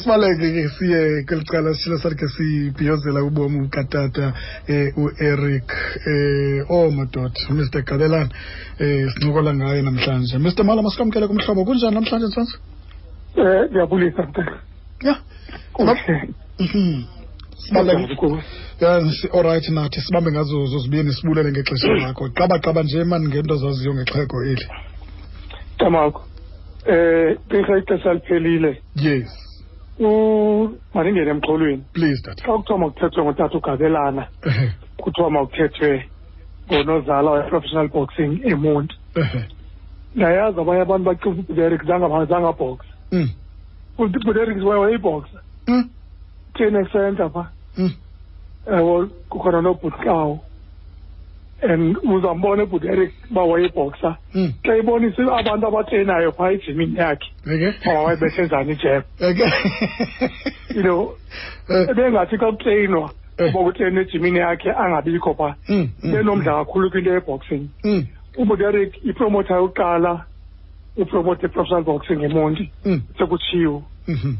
asibaleke ke siye kwelicala sishilo sathi ke sibhiyozela ubomi katata eh, ueric eh, oh madoda mr gabelana eh, sincokola ngaye namhlanje mr mala masikwamkele kumhlobo kunjani namhlanje ntsansi Eh ngiyabulisa mntana. ya Kuhle. Mhm. Sibaluleke- ya si- alright nathi sibambe ngazo zozibini sibulele ngexesha Mm. lakho qaba qaba nje mani ngento zaziyo ngexhego eli Tamako. Eh bese ixesha liphelile. yes U maningene emxholweni. please Mm. tata Xa kuthiwa makuthethwe ngotata ugabelana, Ehe, kuthiwa makuthethwe ngonozala we-professional boxing e eMonti. ehe. Ndayazi abanye abantu bacinga ukuthi uDerek zange zangabhoxa. Mm, UDerek wayeyibhoxa. mm, Training center phaa. mm. ewo kukhona nobhutlawo and uzambona ebhuteric uba wayebhoxa Mm. xa ibonise abantu abatreyinayo phaa ejimini yakhe Okay. uba wayebethenzani ijem Okay. Oh, you know Eh, ebengathi xa kutreyinwa eh. uba kutreyinwa ejimini yakhe angabikho phaa Mm, mm, benomdla kakhulu kwinto yeboxing mm, ubhuteric ipromotha yokuqala upromotha i-professional boxing emonti mm, sekutshiwo mhm.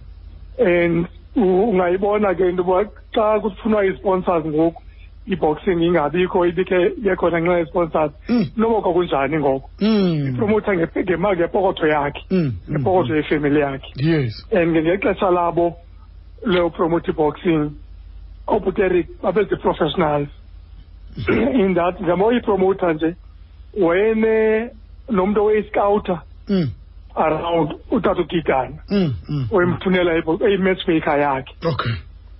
and u- ungayibona ke into yoba xa kufunwa ii-sponsors ngoku i-boxing ingabikho ibikhe bekhona ngenxa ye-sponsors Mm, noba kwakunjani ngoko mm, promotha ngepe- ngema- ngepokotho yakhe mm, mm, ngepokotho yefemeli yakhe yes and ke ngexesha labo leyopromotha i-boxing oobuteric babezi-professionals Mm, in that njengoba uyipromotha nje wayene nomntu oweyiskawuta Mm, around utata ugigana mm, mm. Oh, oyemfunela eyimatchmaker yakhe okay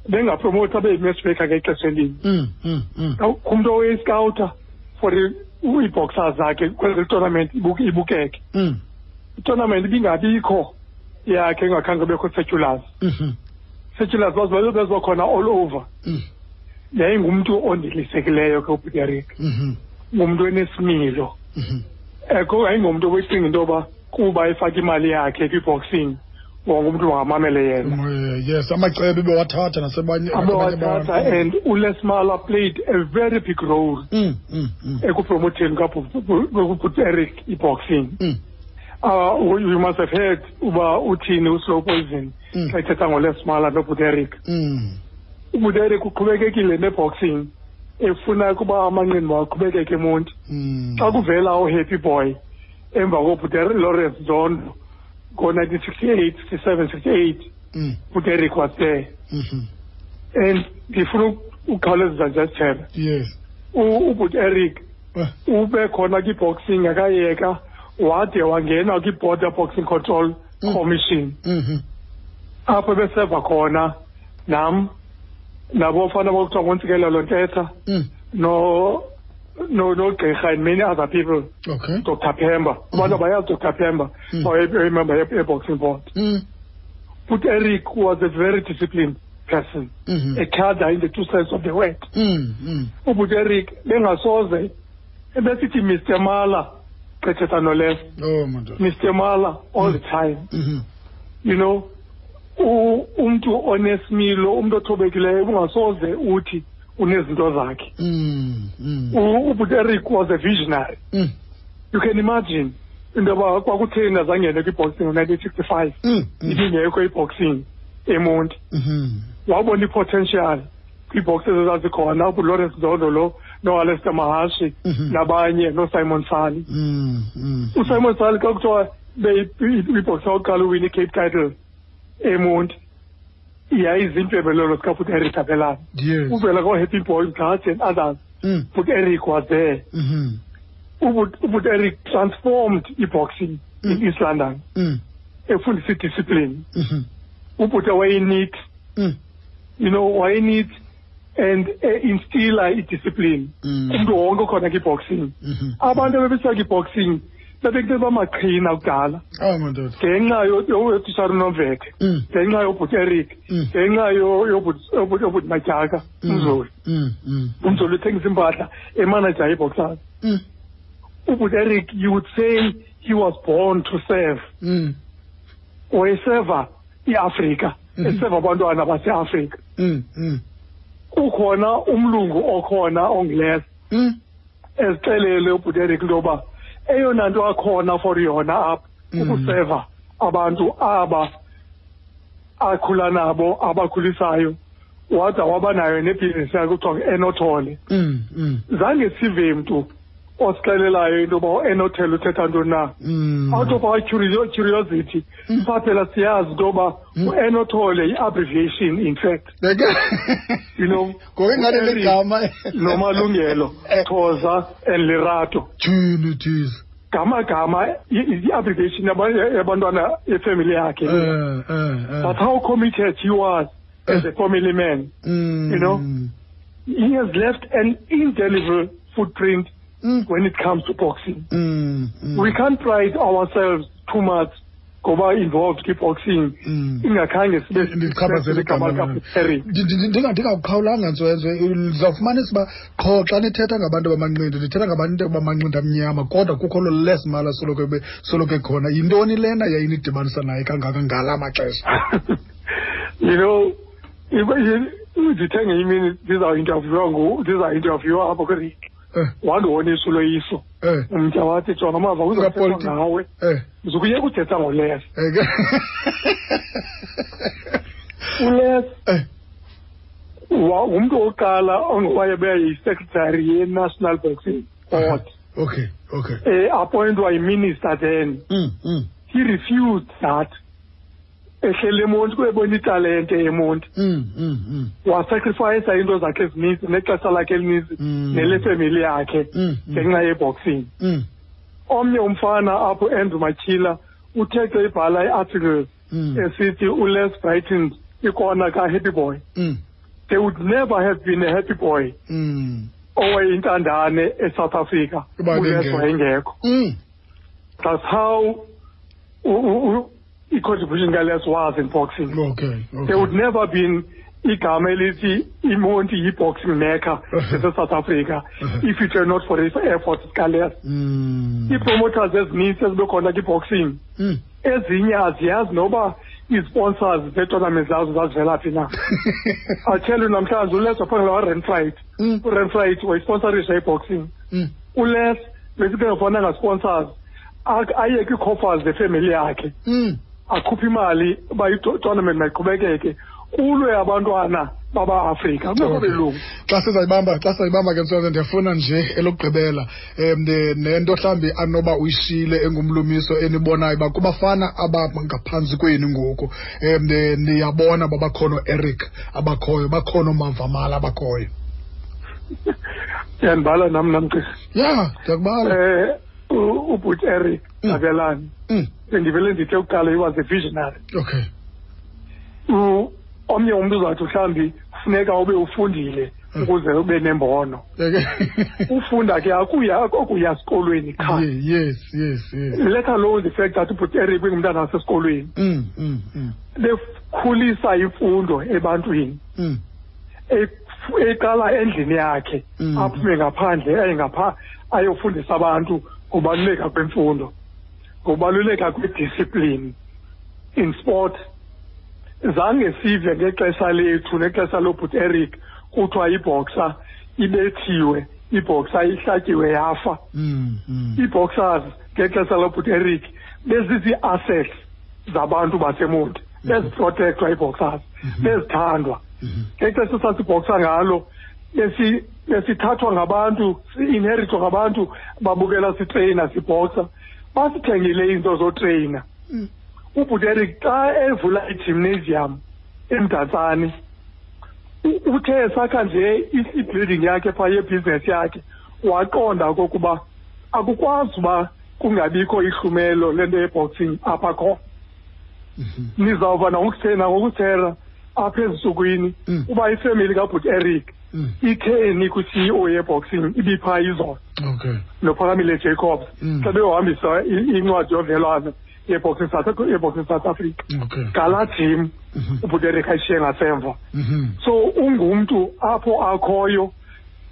bengapromotha beyimatchmaker ngexesha elinye Mm, mm, mm. kumntu oweyiskawuta for i- ii-boxers zakhe kwenzela itournament ibuke- ibukeke Mm, itournament ibingabikho yakhe engakhange bekho seculars mhm, seculars bezibakhona all over mm, yayingumntu ondilisekileyo ke upeteric mhm, ngumntu enesimilo mhm. ekho yayingumntu obecinga into yoba kuba efake imali yakhe kwi-boxing wongumntu wangamamele yena Eh, yes amacebo ibewathatha nasebanye abanye abawathatha abantu. and ulesmala played a very big role Mm, mm, mm, Eh. ekupromotheni kabuteric i-boxing mm, Uh, you must have heard uba uthini uslow poison Mm. xa ithetha ngolesmala nobuteric mm. ubuteric uqhubekekile neboxing efuna ukuba amanqindi waqhubekeke emonti Mm. xa kuvela uhappy boy emva kobuteric lawrence zondo ngo-nineteen sixty-eight sixty-seven sixty-eight Mm, buteric was there mhm. and ndifuna uk- ukukhawulezisa nje sithebe yes U- ubuteric Eh, ube khona kwiboxing akayeka wade wangena kwi-border boxing control Mm. commission mhm. apho beseva khona nam nabofana bokuthiwa ngontsikelelo ntetha Mm, no no nogqirha and many other people okay dr pemba abantu Mhm. abayazi dr pemba Mm. member ye-boxing board Mm, e-, but eric was a very disciplined person mhm. a cadre in the two sides of the word Mm, mm. ubut eric bengasoze ebesithi mr mala qethetha nolefo oh madoda mr mala all the time Mhm, you know u- umntu onesimilo umntu othobekileyo ungasoze uthi unezinto zakhe mm, mm, U- ubuteric was a visionary mm, you can imagine into yoba kwakutheni azangene kwiboxing ngo-nineteen sixty-five mm, mm. ibingekho iboxing emonti Mhm. wabona ipotential kwiibhoxes ezazikhona ubulawrence ndondo lo noalester mahashi Mhm. nabanye nosimon sali Mm, mm. usimon sali xa kuthiwa ibhoxi yakuqala uwina i-cape title emonti yayiziimpembelelo zikafuteric aphelana Yes. uvela koo-happy boy mgadi and others Mm, futeric was there mhm, ufuteric transformed i-boxing in Mm. east london mm, efundisa idiscipline mhm, ubhuta wayeneat mm, you know wayeneat and eh, einstila idiscipline umntu mm, wonke okhona kwiboxing mhm. abantu ebebesiya kwiboxing babekutela bamaqhina kudala Ah, madoda. ngenxa yo- yo- yotishara unomvete Mm, ngenxa yobhuti eric Mm. ngenxa yo- yobhuti- yobhuti yobhuti matyaka mm, umzulu mm, mm, umzulu uthengisa impahla emanaja yeboxers mm, ubhuti eric you would say he was born to serve mm, wayeseva iafrika Mhm. eseva abantwana baseafrika mm, mm, kukhona umlungu okhona ongiles mm. ezixelele ubhuti eric into yoba eyona nto akhona for yona apha Mm. kukuseva abantu aba akhula nabo abakhulisayo wada wabanayo nebhizinisi yakhe kuthiwa ngu-enothole Mm, mm, zange sive mntu osixelelayo into yoba uenothele uthetha ntoni na mm. out of our curio- curiosity Mm. saphela siyazi into yoba Mm. uenothole yi-abbreviation in fact you know ngoku ingathi Eric ligama nomalungelo Eh. xhosa and lerato thini thize ngamagama yi- yi-abbreviation yaba- yabantwana efemily yakhe um but how committed he was as a family man you know, Mm, he has left an indelible footprint mm, when it comes to boxing Hmm. we can't pride ourselves too much ngoba involved kwi-boxing mm. ingakhange sibe ndichaphazele igama lam. Eric. Ndi- ndi- ndi- ndinga- ndingawuqhawulanga ntswenzwe ndizawufumanisa uba qho xa nithetha ngabantu abamanqindi nithetha ngabantu abamanqindi amnyama kodwa kukho lo les mala soloko ebe- soloko ekhona yintoni lena yayinidibanisa naye kangaka ngala maxesha you know ndithe ngenye imini ndizawuinterviewa ngu- ndizawuinterviewa apha kwi Eh, wandibonisa uloyiso eh, umtya wathi jona umava kuzothethwa Kapoliti. ngawe eh, ndizukuyeka uthetha ngoles eh, ke- ules eh, wa- ngumntu wokuqala ongobayebeya yisecretary ye-national boxing board okay okay um appointwa yiminister then Mm, mm, he refused that ehlele emonti kwebona italente emonti mm, mm, wasacrifayisa iinto zakhe ezininzi nexesha lakhe elininzi Mm. nelefemeli yakhe mm, mm, ngenxa yeboxing mm, omnye umfana apho andrew matyhila uthethe ibhala i-article mm, esithi ules brighton ikona kahappy boy mm, there would never have been a happy boy mm. owayeyintandane esouth africa Uba ules bengekho. wayengekho Mm. that's how u- u- u- i-contribution kales was in boxing okay there would okay never been igama elithi imonti yi-boxing mecca Uh-huh. sesesouth africa Uh-huh. if it were not for his efforts kales Mm. ii-promoters ezininzi ezibe khona kwi-boxing Mm. ezinye aziyazi noba ii-sponsors zee-tournament zazo zazivela phi na atshele namhlanje ules waphangela warenfright Mm. urenfright wayisponsorisha i-boxing Mm. ules besikengafananga sponsors ak- aye kwii-coffers zefemeli yakhe Mm. akhuphe imali uba itournament mayiqhubekeke kulwe abantwana baba-afrika kubekho Okay. belungu xa sizayibamba xa sizayibamba ke msakazi ndiyafuna nje elokugqibela um nento mhlawumbi anoba uyishile engumlumiso enibonayo uba kubafana abangaphantsi kwenu ngoku um niyabona uba bakhona eric abakhoyo bakhona omavamala abakhoyo ndiyandibala nam namcisa ya ndiyakubala um ubut eric Mm. abelani Mm. bendivele ndithe kuqala he was a visionary okay U- omnye umntu uzathi mhlawumbi kufuneka ube ufundile Mm. ukuze ube nembono Okay. ufunda ke akuya akuya sikolweni qha Ye- yes yes yes let alone the fact that ubut eric ingumntana wasesikolweni Mm, mm, mm, bekhulisa imfundo ebantwini mm, efu- eqala endlini yakhe Mm. aphume ngaphandle aye ngapha ayofundisa abantu ngobaluleka kwemfundo ngobaluleka kwediscipline in sport zange sive ngexesha lethu nexesha lobhut eric kuthiwa ibhoxa ibethiwe ibhoxa ihlatyiwe yafa mm, mm. ii-boxers ngexesha lobhut eric bezizii-assets zabantu basemonti beziprotekthwa ii-boxers Mhm. bezithandwa Mhm. ngexesha esasibhoksa ngalo besi- besithathwa ngabantu si-inherithwa ngabantu babukela sitreyina sibhoksa basithengile iinto zotreyina Mm. ubuteri xa evula igymnasium emdatsane u- uthe sakha nje i- ibuilding yakhe phaa yebhizinesi yakhe waqonda okokuba akukwazi uba kungabikho ihlumelo lento yeboxing apha kho Mhm. nizawuba nangokuthena ngokuthera apha ezintsukwini Mm. uba ifemeli kabut eric Mm. itheni kwi-ceo yeboxing ibiphaa izolo okay nophakamile jacobs Mm. xa beyohambisa i- incwadi yovelwano yeboxing South- yeboxing south africa okay ngala jim Mhm. ubut eric ayishiye ngasemva Mhm. so ungumntu apho akhoyo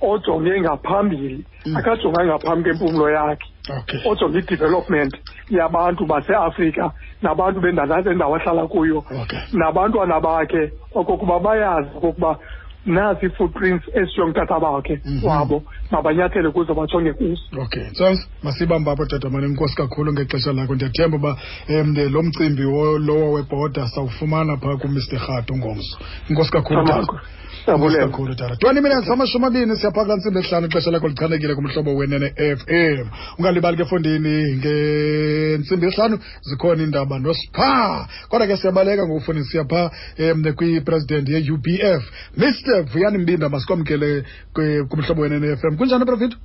ojonge ngaphambili Mm. akajonge ngaphambi kwempumlo yakhe okay ojonge i-development yabantu baseafrika nabantu bendawo endawo ahlala kuyo okay nabantwana bakhe okokuba bayazi okokuba nazi ii-footprints esiyongutata bakhe Mhm. wabo mabanyathele kuzo bajonge kuzo okay charles masibamba apho tatamane inkosi kakhulu ngexesha lakho ndiyathemba uba um lo mcimbi wo- lowo webhoda sawufumana phaa kumr rhato ngomso inkosi kakhulu Charles. Thamako. Inkosi Siyabulela. kakhulu tata twenty minutes amashumi amabini siyaphakula ntsimbi esihlanu ixesha lakho lichanekile kumhlobo wenene f m ungalibali ke efondini ngentsimbi esihlanu zikhona iindaba nospa kodwa ke siyabaleka ngokufuni siya phaa um kwipresident ye-u b f mr vuyani mbinda masikwamkele kwi- kumhlobo wenene f m kunjani prefito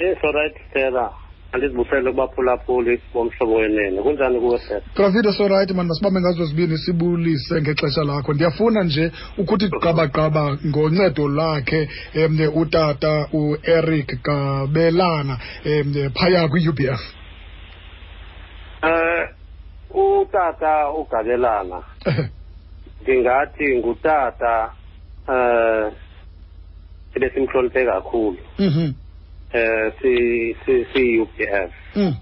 Yes, all right, Stella. Andizibusele kubaphulaphuli bomhlobo wenene. Kunjani kuwe, Stella? Pravito sorayithi mani masibambe ngazo zibini sibulise ngexesha lakho ndiyafuna nje ukuthi qabaqaba ngoncedo lakhe um utata ueric kabelana um phaya kwi-ubf Eh, utata ugabelana ndingathi ngutata eh ebesimhloniphe kakhulu Mhm, eh si si si UPF. mm.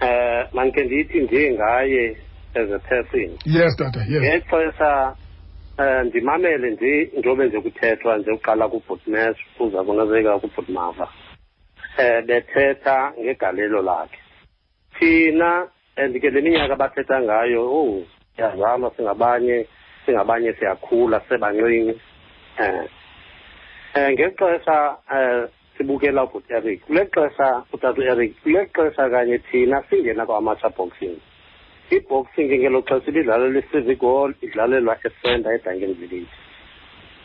Eh manike ndithi nje ngaye as a person. yes tata yes Ngexesha eh ndimamele nje njobe nje kuthethwa nje uqala kuBootmash kuza konazeka kuBootmava. Eh bethetha ngegalelo lakhe. Thina eh, andike leminyaka bathetha ngayo, oh siyazama singabanye singabanye siyakhula sebancinci. Eh eh ngexesha eh sibukela uBoot Eric. Kulexesha uTata Eric, kulexesha kanye thina singena kwaMacha Boxing. iboxing ngelo xesha ibidlalelwa i-civic hall idlalelwa esenda edangen village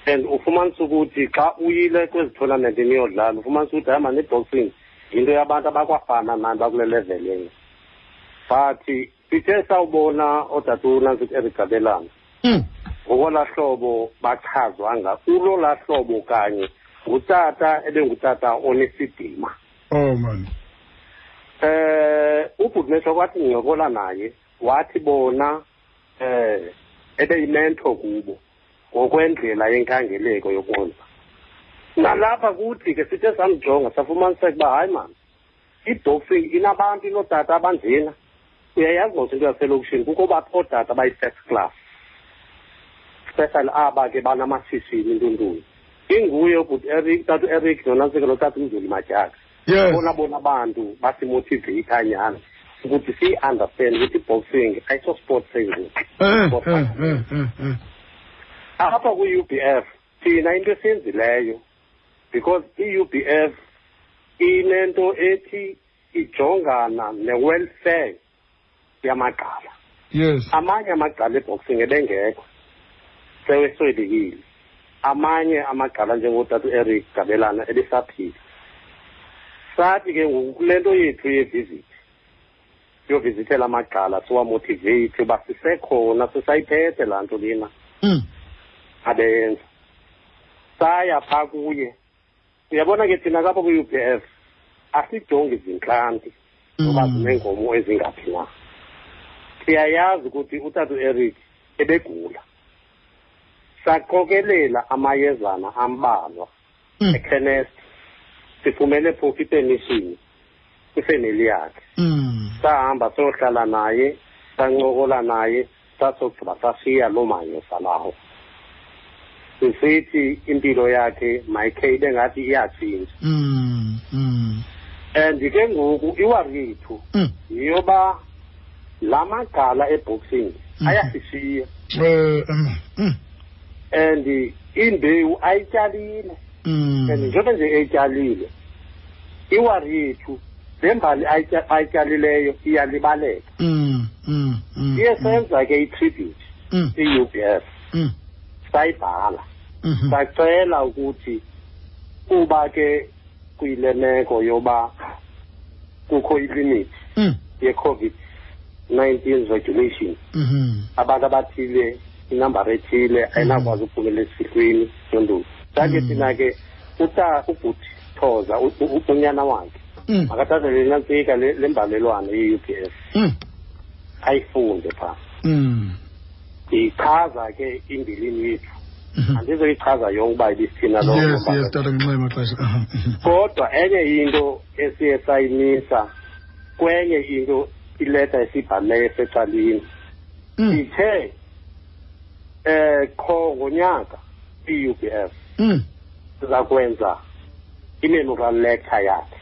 and ufumanisa ukuthi xa uyile kwezi tournament niyodlala ufumanisa ukuthi hayi mani i-boxing yinto yabantu abakwafana nani bakule level enye but sithe sawubona odatunansi erigabelana Mm, ngokolaa hlobo bachazwa nga kulolaa hlobo kanye ngutata ebengutata onesidima oh mani eh ubhutmesha kwathi ngincokola naye wathi bona eh ebeyimento kubo ngokwendlela yenkangeleko yokunxa nalapha kuthi ke sithe samjonga safumaniseka uba hayi mani iboxing inabantu inootata abanjena uyayazi mos into yaselokishini kukho ba- ootata bayi-first class special aba ke banamashishini intuntuni inguye ubhut eric tata ueric nonantsike notata umzuli madyaka yes bona bona abantu basimotiveyitha nyhani ukuthi siyi-understand ukuthi i-boxing ayiso-sport sengoku Eh, eh, eh, eh, eh. apha kwi-u b f thina into esiyenzileyo because i-u b f inento ethi ijongana ne-welfare yamagqala yes amanye amagqala eboxing ebengekho seweswelekile amanye amagqala njengotata ueric gabelana ebesaphila sathi ke ngoku kule nto yethu yevisit yovizithela amagqala siwamotiveyithi uba sisekhona sisayiphethe laa nto lena Mm, abenza saya phaa kuye uyabona ke thina kapha kwi-u b f asijongi zintlanti noba mm. zineenkomo ezingaphi na siyayazi ukuthi utata ueric ebegula saqokelela amayezana ambalwa Mm, echenest sifumene phofu ipermission kwifemeli yakhe mm. sahamba sohlala naye sancokola naye sasogqiba sashiya loo manyosa lawo sisithi impilo yakhe mayikhe ibe ngathi iyatshintsha Mm, mm, and ke ngoku iwarithu mm. yiyoba la magala eboxing Mhm. ayasishiya Eh, mm, mm, and imbewu ayityalile and mm. njengoba nje etyalile iwari yethu le mbali ayitya- ayityalileyo iyalibaleka Mm, mm, mm, iye mm, senza ke itribute mm, i-u b f mm, sayibhala mhm. sacela ukuthi kuba ke kuyile meko yoba kukho ilimithi Mm, ye-covid-19 regulation mhm. abantu abathile inambara ethile Hmm. ayinakwazi uphumela esihlweni yontoni sanje Mm. thina ke uta ubhuti thoza u- u- u- unyana wakhe Mm, makathathe lena ntsika le le mbalelwano ye-u p f mm, ayifunde phaa mm, ndiyichaza ke imbilini yethu mhm. andizoyichaza yonke uba ibisithina loo yes nto yes mbalelwano. tata ngenxa yamaxesha Aha, mhm. kodwa enye into esiye sayimisa kwenye into ileta esiyibhalileyo esecaleni Mm, ithe eh qho ngonyaka i-UBF mm, siza kwenza i-memorial lecture yakhe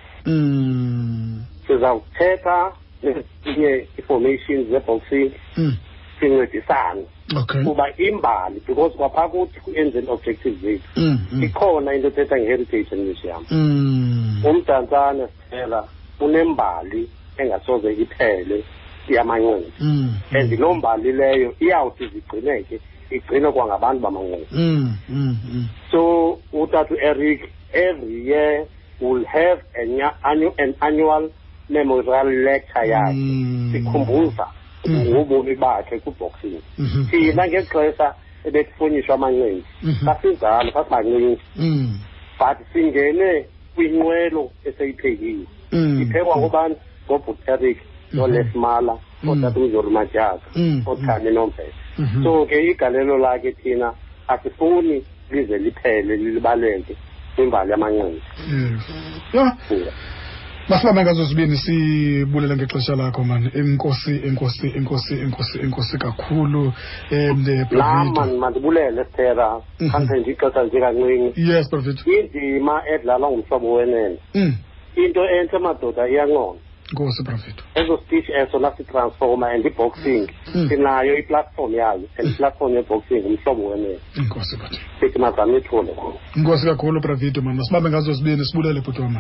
Mm. siza kuthetha nezinye i-formations zebhoxing Mm. sincedisane Okay. kuba imbali because kwapha kuthi ku-enzeni objective zethu Mm. mm, ikhona into ethetha nge-heritage and museum Mm. umdantsane sithela unembali engasoze iphele yamanqindi Mm. and loo mbali leyo iyawuthi zigcineke igcinwe kwangabantu bamanqindi Mm. Mm. Mm. So Utatu Eric every year will have a nya- annu- an annual memorial lecture yakhe Mm. sikhumbuza Mm. ngobomi bakhe kuboxing Mhm. thina ngexesha ebekufunyishwa amanqindi Mhm. sasinjalo sasibancinci Mm. but singene kwinqwelo eseyiphekiwe Mm. iphekwa ngobani ngobhut eric nolesimala Mm. otatumzori majaga Mm. othane nomvesa Mhm. so ke igalelo lakhe thina asifuni lize liphele lilibaleke kwimbali yamanqindi Yes. Yeah. Masibambe ngazo sibini sibulele ngexesha lakho man. Enkosi enkosi enkosi enkosi enkosi kakhulu. Eh the lama mandibulele sithera Mhm. khanse nje ixesha nje kancinci Yes Prophet. indima edlalwa ngumhlobo wenene Mm. into entle madoda iyanqona Nkosi Prophet. eso speech eso lasitransforma and iboxing Mm. sinayo iplatform yayo and iplatform yeboxing ngumhlobo wenene Inkosi bathi. sithi mazame ithule Inkosi kakhulu Pravito man. Masibambe ngazo sibini sibulele bhuti wam.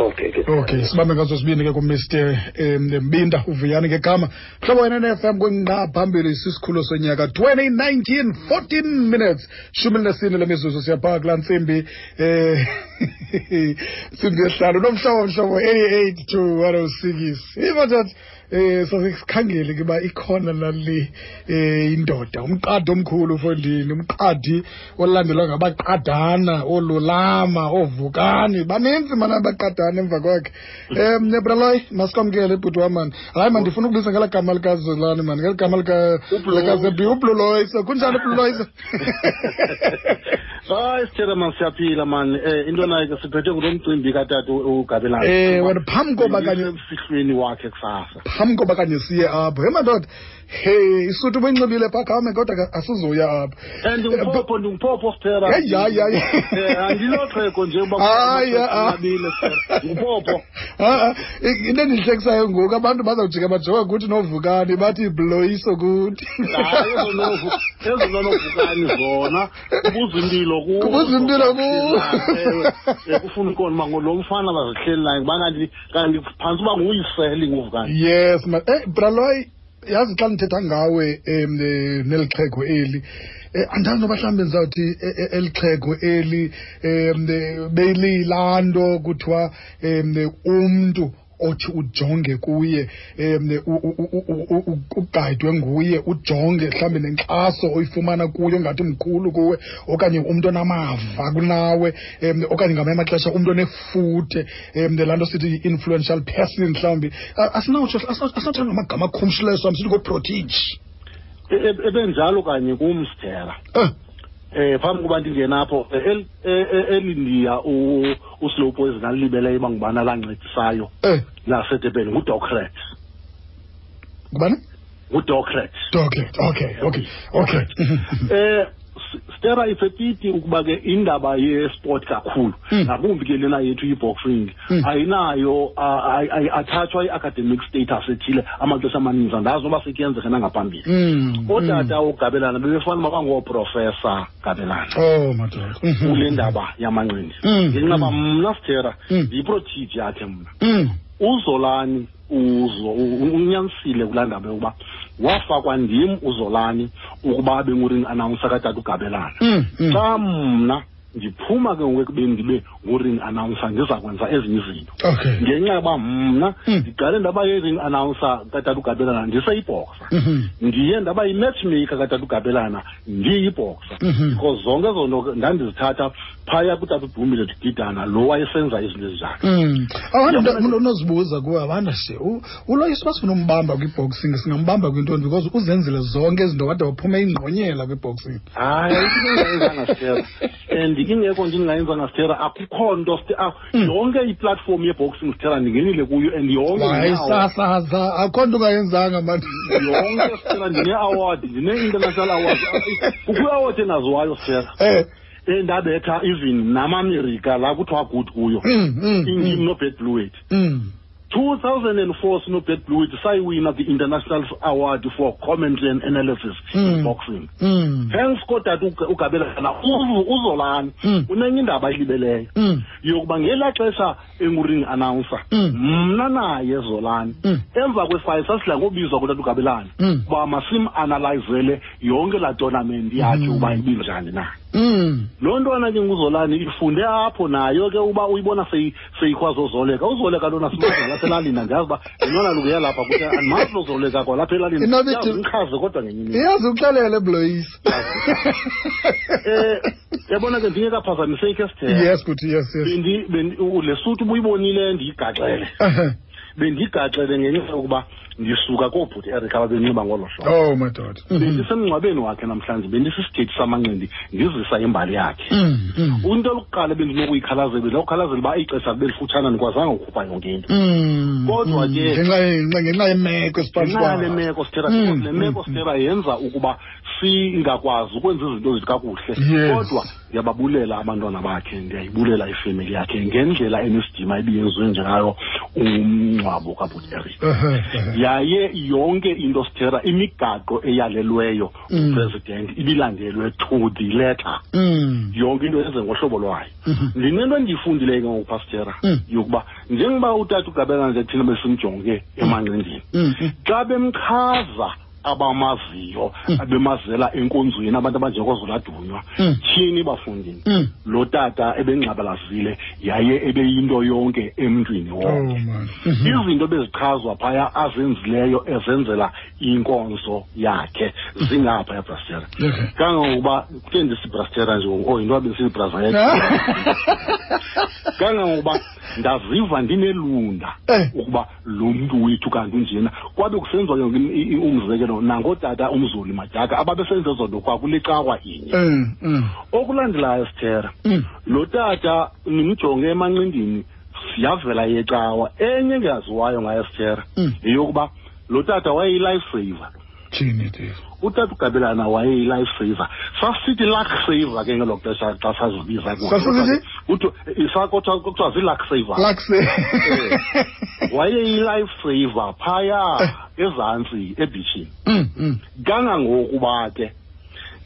okay ke Okay, sibambe ngazo sibini ke kuMr eh, Mbinda uvuyani ngegama. Hlobo wena ne-FM kwinqa phambili sisikhulu sonyaka 2019 14 minutes. Shumile nesine lemizuzu siyapha kula ntsimbi eh ntsimbi yesihlanu nomhlobo mhlobo 88 to 106. Ibathatha eh sasikhangele ke ba ikhona nali eh indoda umqadi omkhulu ufondini umqadi olandelwa ngabaqadana olulama ovukani baninzi mana abaqadana emva kwakhe um nebraloy masikwamkele ibhuti wam mani hayi man ndifuna ukubisa ngela gama likazolani mani ngeli gama lika- Ubluloy. likazebi ubluloyso kunjani ubluloyso hayi sithele man siyaphila Ah, man um into nayo ke siphethwe ngulo mcimbi katata ugabelana Eh, wena phambi koba kanye- emsihlweni wakhe kusasa phambi koba kanye siye apho he madoda he isuti ubuyinxibile phakame kodwa ke asizuya apha and Eh, bu- umphopho ndingumphopho sithera Hey, hayi, hayi. Eh, andiloxheko nje uba Hayi, ah. nabile sithera ngumphopho Ah, ah. I- into endihlekisayo ngoku abantu bazawujika bajonga kuthi novukani bathi bloyiso kuthi hayi ezo novu- ezo zanovukani zona kubuza impilo kuzo. Kubuza impilo kuzo. Ewe, eh, kufuna ukona uba ngo- lo mfana bazihleli naye uba kanti kanti phantsi uba nguyiseli ngovukani yes ma eh braloy yazi xa ndithetha ngawe em, eh, neli xhego eli eh, andazi noba mhlawumbi ndizawuthi eh, eh, eli xhego eli um beyililaa nto kuthiwa um umntu othi ujonge kuye um ugayidwe nguye ujonge mhlawumbi nenkxaso oyifumana kuye ongathi mkhulu kuwe okanye umntu onamava kunawe um okanye ngamanye amaxesha umntu onefuthe um laa nto sithi yi-influential person mhlawumbi A- asinawutsho asinawuthetha ngamagama akhumshileyo sam sithi ngoprotege E- e- ebenjalo kanye kum sithera um eh phambi kuba ndingena apho eh, el- eh, eh, elindiya u- uslow poison alilibeleyo uba ngubani alancedisayo um lasedebheni ngudocrat ngubani ngudocrat okay okay okay okay eh S- stera ifepiti ukuba ke indaba yesport kakhulu Mm. ngakumbi ke lena yethu i-boxing Mm. ayinayo ah, ay- ay- athathwa i-academic status ethile amaxesha amaninzi andazi noba sekuyenzeka nangaphambili Mm, ootata ugabelana bebefana uba bangooprofesa gabelana oh madoda Mhm. kule ndaba yamanqindi Mm, ngenxa uba mm. mna sithera Mm. yiprotiji yakhe mna Mm, uzolani uzo u- u- unyanisile kulaa ndaba yokuba wafakwa ndim uzolani ukuba abe nguring announcer katata ugabelana mm, mm. xa mna ndiphuma ke ngoku ekubeni ndibe nguring announcer ndiza kwenza ezinye izinto okay ngenxa yoba mna Mm. ndiqale ndaba yi-ring announcer katata ugabelana ndiseyibhoxa Mhm. ndiye ndaba yi-matchmaker katata ugabelana ndiyibhoxa Mhm. because zonke ezo nto ke ndandizithatha phaya kutata udumile digidana lo wayesenza izinto ezinjalo Mm. Yeah, abantu but- mna unozibuza kuwe abantu she u- uloyiso basifuna umbamba kwi-boxing singambamba kwintoni because uzenzile zonke izinto wade waphume ingqonyela kwi-boxing hayi ayikho into engayenzanga sithera and ingekho nje ndingayenzanga sithera akukho nto Sithera. Ah, Mm. yonke iplatform yeboxing sithera ndingenile kuyo and yonke ndinawo- wayisasaza akho nto ungayenzanga mani yonke sithera ndine-award ndine-international award kukho iaward engaziwayo sithera Eh, endabetha even namamerika la kuthiwa good kuyo Mm, mm, indim mm, nobet bluet mm. 2004 sinobet bluet sayiwina the international award for commentary and analysis Mm. in boxing Mm, thanks kodade ugabelana uzolani Mm. unenye indaba ayilibeleyo mm, yokuba ngelaa xesha enguring announcer Mm. mna naye zolani Mm. emva kwefayi sasidla ngobizwa kutata ugabelani Mm. uba masimanalayizele yonke laa tournament yakhe Mm. uba ibinjani na mm. loo ntwana ke nguzolani ifunde apho nayo ke uba uyibona seyi- seyikwazi ozoleka uzoleka lona simazi lapha elalini andiyazi uba yilona lukuyalapha kuthi andimazi lozoleka kwalapha elalini Inobe Yazi thi- umchaze kodwa ngenye imini iyazi uxelele bloyisa um yabona ke ndingekaphazamiseki esithethe yes kuthi yes yes bendi bendi- u- le suti ubuyibonile ndiyigaxele Ehe. bendigaxele ngenxa yokuba ndisuka koobhuti eric ababenxiba ngolo hlobo oh madoda Mhm. bendisemngcwabeni wakhe namhlanje bendisisithethi samanqindi ndizisa imbali yakhe Mm, mm, into lokuqala bendinokuyikhalazela bendawukhalazela uba ixesha belifutshana ndikwazanga ukukhupha yonke into mm, Kodwa mm. ke- ngenxa ye- ngenxa- ngenxa yemeko esiphansi ngenxa le kwayo. meko sithera Mm, because le mm, meko mm. sithera yenza ukuba singakwazi ukwenza izinto zethu kakuhle Yes. kodwa ndiyababulela abantwana bakhe ndiyayibulela ifemeli yakhe ngendlela enesidima ebiyenziwe ngayo umngcwabo kabhuti eric Ehe, ehe. yaye yonke into sithera imigaqo eyalelweyo Mm. upresident ibilandelwe to the letter Mm, yonke into yenze ngohlobo lwayo mhm. ndinento endiyifundileyo ke ngokupastera Mm. yokuba njengoba utata ugabelana nje thina besimjonge emanqindini Mm, mm. xa bemchaza abamaziyo Mm. abemazela enkonzweni abantu abanjengoozoladunywa Mm. tyhini bafundini Mm. lo tata e ebengxabalazile yaye ebeyinto yonke emntwini oh wonke man Mhm. izinto bezichazwa phaya azenzileyo ezenzela inkonzo yakhe zingapha ebrastera Okay. kangangokuba kuthe ndisibrastera nje o yinto abesiyibraza kangangokuba ndaziva ndinelunda Eh. ukuba lo mntu wethu kanti unjena kwabe kusenziwa yonke im- i- i- umzekelo nangootata umzoli madaka ababesenze zonto kwakule cawa inye Mm, mm, okulandelayo sithera mm. lo tata nimjonge emanqindini siyavela yecawa enye engaziwayo ngayo sithera Mm. yeyokuba lo tata wayeyi-life saver Thini this? utata ugabelana wayeyi-life saver sasithi luck saver ke ngelo xesha xa sazibiza Sasizithi? e, kuthiwa zi-luck saver Lakse. wayeyi-life saver phaya Eh. ezantsi ebhishini Mm, mm. kangangokuba ke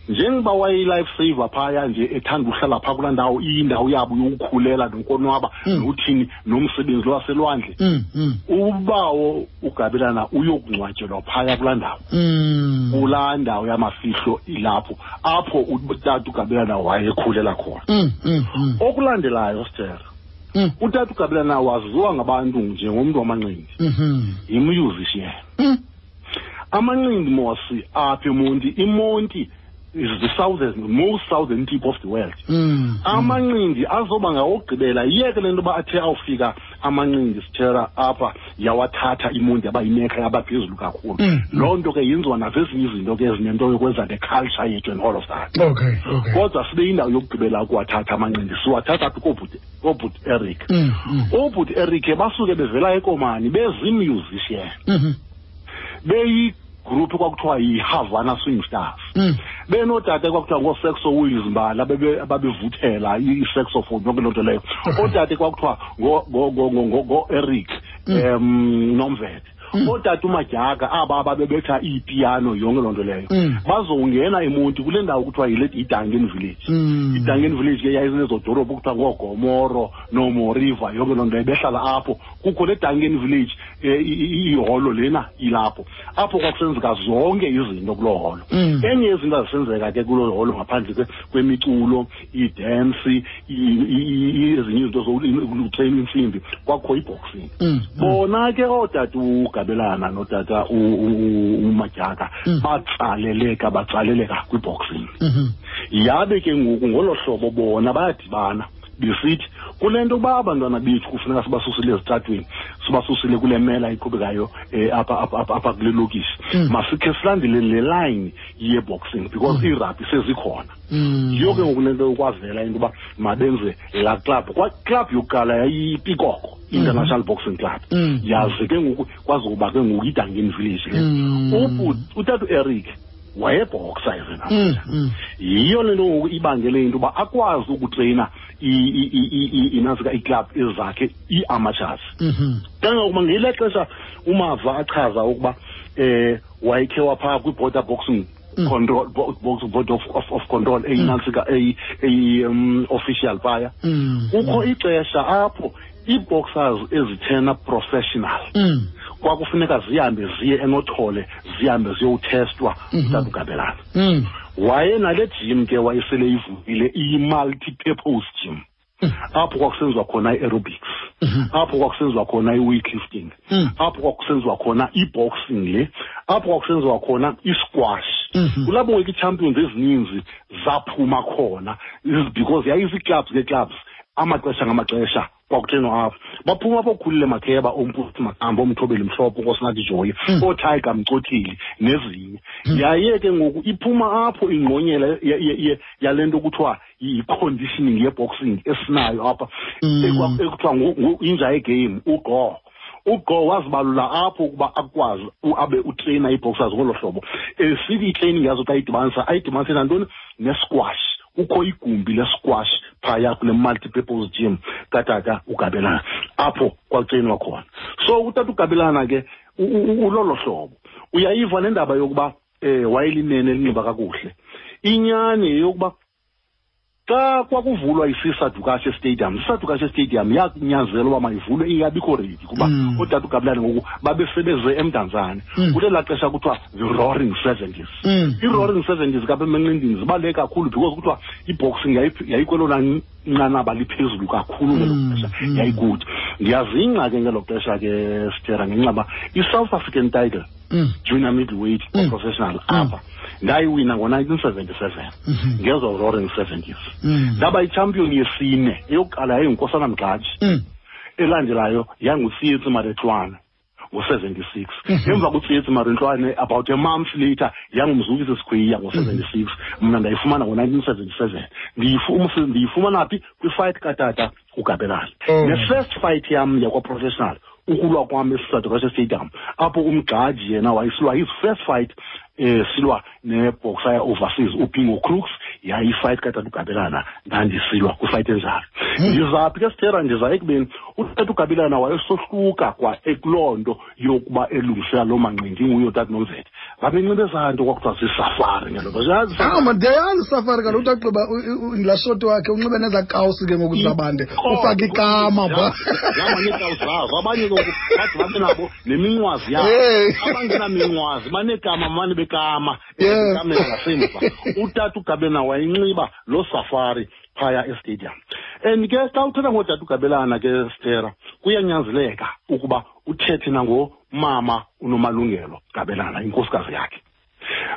njengoba wayeyi-life saver phaya e nje e ethanda uhlala phaa kulaa ndawo iyindawo yabo yokukhulela nokonwaba Mm. nothini nomsebenzi lwaselwandle Mm, mm, ubawo ugabelana uyokungcwatyelwa phaya kulaa ndawo mm. kulaa ndawo yamafihlo ilapho apho utata ugabelana wayekhulela khona Mm, mm, mm, Oh. okulandelayo stera mm. utata ugabelana waziwa ngabantu njengomntu wamanqindi Mhm. yimusician Mm. amanqindi mosi apha emonti imonti is the southern most southern tip of the world Mm. amanqindi azoba ngawogqibela yeke le nto uba athe awufika amanqindi sithera apha yawathatha imonti abayinekha yabaphezulu kakhulu Mm. loo nto ke yenziwa nazezinye izinto ke ezinento yokwenza neculture yethu and all of that Okay, okay. kodwa sibe yindawo yokugqibela ukuwathatha amanqindi siwathatha phi koobhuti koobhuti eric Mm, mm. oobhuti eric ke basuke bevela ekomani bezimusician Mhm. beyigruphu kwakuthiwa yihavana swing stars Mm. benotata kwakuthiwa ngoosexo wills mbala bebe- ababevuthela i-sexophone yonke loo nto leyo Okay. ootata kwakuthiwa ngo- ngo- ngo- ngo- ngo- ngoeric Mm. um nomvete Mm. ootata umadyaka aba ababebetha iipiano yonke loo nto leyo Mm. bazowungena emonti kule ndawo kuthiwa yile yidangen village Mm. idangen village ke yayizinezo dolophu kuthiwa ngoogomoro noomoriva yonke loo nto behlala apho kukho le dangen village eh, i- i- iholo lena ilapho apho kwakusenzeka zonke izinto kuloo holo Mm. enye yezinto azisenzeka ke kuloo holo ngaphandle kwe- kwemiculo iidensi i- i- i- ezinye izinto zokutreyina intsimbi kwakho iboxing Mm. bona ke ootata ugabelana notata u- u- u- umadyaka Mm. batsaleleka batsaleleka kwiboxing Mhm. yabe ke ngoku ngolo hlobo bona bayadibana besithi kule nto uba abantwana bethu kufuneka sibasusile ezitratweni sibasusile kule mela iqhubekayo um apha apha- apha- apha kule lokishi Mm. masikhe silandele le layini yeboxing because iirabhi sezikhona Mm. yiyo ke ngoku le nto yokwavela into yoba mabenze laa club kwaclub yokuqala yayipikoko international boxing club Mm. yaze ke ngoku kwazoba ke ngoku idangeni village le Mm. Ubhu- utata eric wayebhoksa yena Mm, mm. yiyo le nto ngoku ibangele into uba akwazi ukutreyina i- i- i- i- inantsika iiklab ezakhe ii-amatshasi Mhm. kangangokuba ngile xesha umava achaza ukuba eh wayekhe waphaa kwi-border boxing Mm. control bo- box board of, of, of control eyinantsika eyi-official um, phaya Mm. kukho Mm. ixesha apho ii-boxers ezithena professional Mm. kwakufuneka zihambe ziye enothole zihambe ziyowuthestwa Mhm. utatugabelana Mm. wayenale jim ke wayesele ivukile iyi-multi-purpose gym Mm. apho kwakusenziwa khona i-aerobics Mhm. apho kwakusenziwa khona i-weightlifting Mm. apho kwakusenziwa khona i-boxing le apho kwakusenziwa khona i-squash Mhm. kulapho ke ii-champions ezininzi zaphuma khona Is because yayizii-clubs ngee-clubs amaxesha ngamaxesha kwakuthenwa apho baphuma apho okhulile makheba omputi makamba omthobeli mhlophe okosinathi joye Mm. ootiger mcothile nezinye Mm. yaye ke ngoku iphuma apho ingqonyela ye- ye- ye- yale nto kuthiwa yi-conditioning yeboxing esinayo apha Mm. ekwa- ekuthiwa ngu- ngu- inja yegame ugo ugo wazibalula apho ukuba akwazi u- abe utreyina ii-boxers ngolo hlobo esithi itraining yazo xa ayidibanisa ayidibanise nantoni nesquash kukho igumbi lesquash phaya kule multi-purpose gym katata ugabelana apho kwatreyinwa khona so utata ugabelana ke u- u- u- ulolo hlobo uyayiva nendaba yokuba um wayelinene elinxiba kakuhle inyani yeyokuba xa kwakuvulwa isisa dukashe stadium sisa dukashe stadium yakunyanzelwa uba mayivulwe iyabikho redi kuba Mm. ootata ugabelane ngoku babesebeze emdantsane Mm. kulelaa xesha kuthiwa the roaring seventies Mm. i-roaring seventies kapha emanqindini zibaluleke kakhulu because kuthiwa i-boxing yayi- yayikwelona n- nqanaba liphezulu kakhulu ngelo Mm, xesha mm. yayikude ndiyazingca ke ngelo xesha ke stera ngenxa ba i-south african title Mm. junior middleweight Mm. professional Mm. apha ndayiwina ngo-nineteen seventy seven Mhm. ngezo roaring seventies Mm. ndaba yichampion Mhm. yesine eyokuqala yayingunkosana mgxaji Mm. elandelayo yangutsiyetsi marentwana ngo-76 Mhm. emva kutsiyetsi marentwane about a month later yangumzukisi sikhweyiya ngo-76 Mhm. mna ndayifumana ngo-1977 Ndiyifu- umse- ndiyifumana phi kwifight katata ugabelane Oh. ne-first fight yam yakwaprofessional ukulwa kwam esisadokashe stadium apho umgxaji yena wayisilwa his first fight um silwa neboxer overseas upingo crooks yayifight katata ugabelana ndandisilwa kwifight enjalo ndizaphi ke sithera ndiza ekubeni utata ugabelana wayesohluka kwa ekuloo nto yokuba elungisela loo manqindi nguyo tata nomzete babenxibe ezaa nto kwakuthiwa zisafari ngelo xesha. Yazi- hama ndiyayazi Ah, safari kaloku uthi agqiba ngilashoti wakhe unxibe nezakawusi ke ngoku zabande Inkomo. ufake ikama pha Oh, Ya- yamanye iindawo zazo abanye ke ngoku bathi babe nabo neminqwazi yabo Hey. abangenaminqwazi banekama mane bekama Yeah. ekamela ngasemva utata ugabelana wayinxiba loo safari phaya estadium and ke xa uthetha ngotata ugabelana ke stera kuyanyanzeleka ukuba uthethe nangomama unomalungelo gabelana inkosikazi yakhe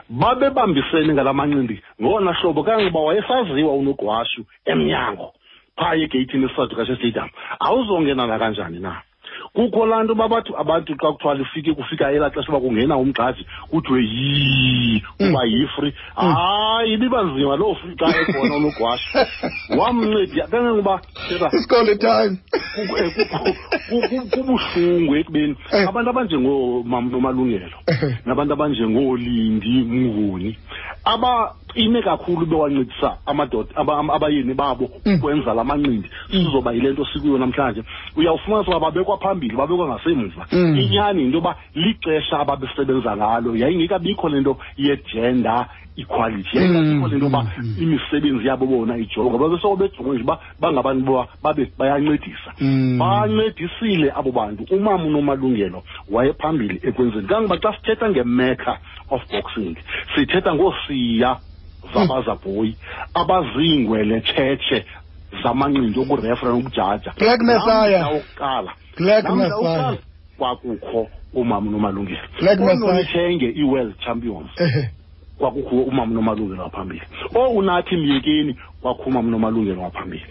babebambisene ngala manqindi ngona hlobo kangoba wayesaziwa unogwashu emnyango phaa egeyithini esisadukashe stadium awuzongena nakanjani na kukho laa nto uba bathi abantu xa kuthiwa lifike kufika elaa xesha uba kungena umgxaji kuthiwe yii kuba yifri hayi ibiba nzima loo fri xa ekhona unogwashu wamnceda kangangoba thetha isikole time ku- eh, ku- ku- ku- kubuhlungu ekubeni Eh. abantu abanjengoonomalungelo nabantu abanjengoolindi mnguni abaqine kakhulu bewancedisa amadoda aba- am- abayeni babo Mm. ukwenza la manqindi sizoba yile nto sikuyo namhlanje uyawufumanisa uba babekwa phambili babekwa ngasemva Mm. inyani into yoba lixesha ababesebenza ngalo yayingekabikho le nto yegender equality yayingabikho le nto yoba Mm. imisebenzi yabo bona ijongwa babesoko bejonge nje uba bangabantu boba babe bayancedisa Mm. bancedisile abo bantu umama unomalungelo wayephambili ekwenzeni kangoba xa sithetha ngemecca of boxing sithetha ngoosiya zabazabhoyi abaziingwele tshetshe zamanqindi okurefera nokujaja Black Messiah. Namhla wokuqala Black namhla Messiah. wokuqala kwakukho umama unomalungelo Black Messiah. Onolithenge i-world champions Ehe. kwakukho umama nomalungelo waphambili ounathi myekeni kwakho umama nomalungelo waphambili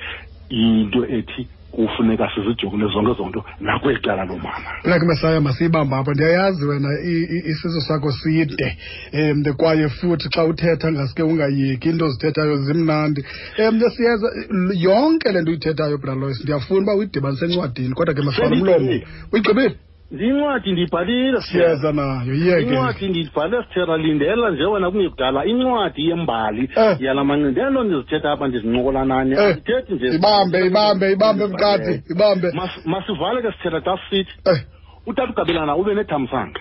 yinto ethi kufuneka sizijongile zonke zonto nakwecala lomama Black Messiah masiyibamba apha ndiyayazi wena i- i- isizo sakho side um kwaye futhi xa uthetha ngaske ungayeki into ozithethayo zimnandi um siyeza l- yonke le nto uyithethayo bralois ndiyafuna uba uyidibanise encwadini kodwa ke masifana umlomo Sendiyigqibile. uyigqibile incwadi ndiyibhalile siyeza nayo yiyeke incwadi ndiyibhale sithera lindela nje wena kungekudala incwadi yembali Eh. yala manqindelo ndizithetha apha ndizincokola nani Eh. andithethi nje ibambe ibambe ibambe mkati ibambe Mas- masivale ke sithera xa sisithi Eh, utata ugabelana ube nethamsanqa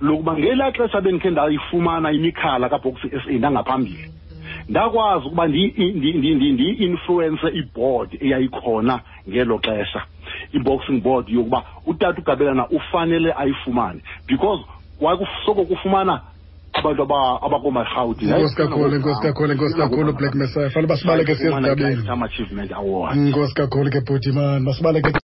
lokuba ngelaa xesha bendikhe ndayifumana imikhala kabhoksi s a ndangaphambili ndakwazi ukuba ndiyi-influense ibhoard eyayikhona ngelo xesha i-boxing board yokuba utata ugabelana ufanele ayifumane because kwakusoko kufumana abantu aba- abakoomarhawuti Inkosi kakhulu, inkosi kakhulu, inkosi kakhulu, Black Messiah. Fanele uba sibaleke siye ezindabeni. achievement award inkosi kakhulu ke bhuti man masibaleke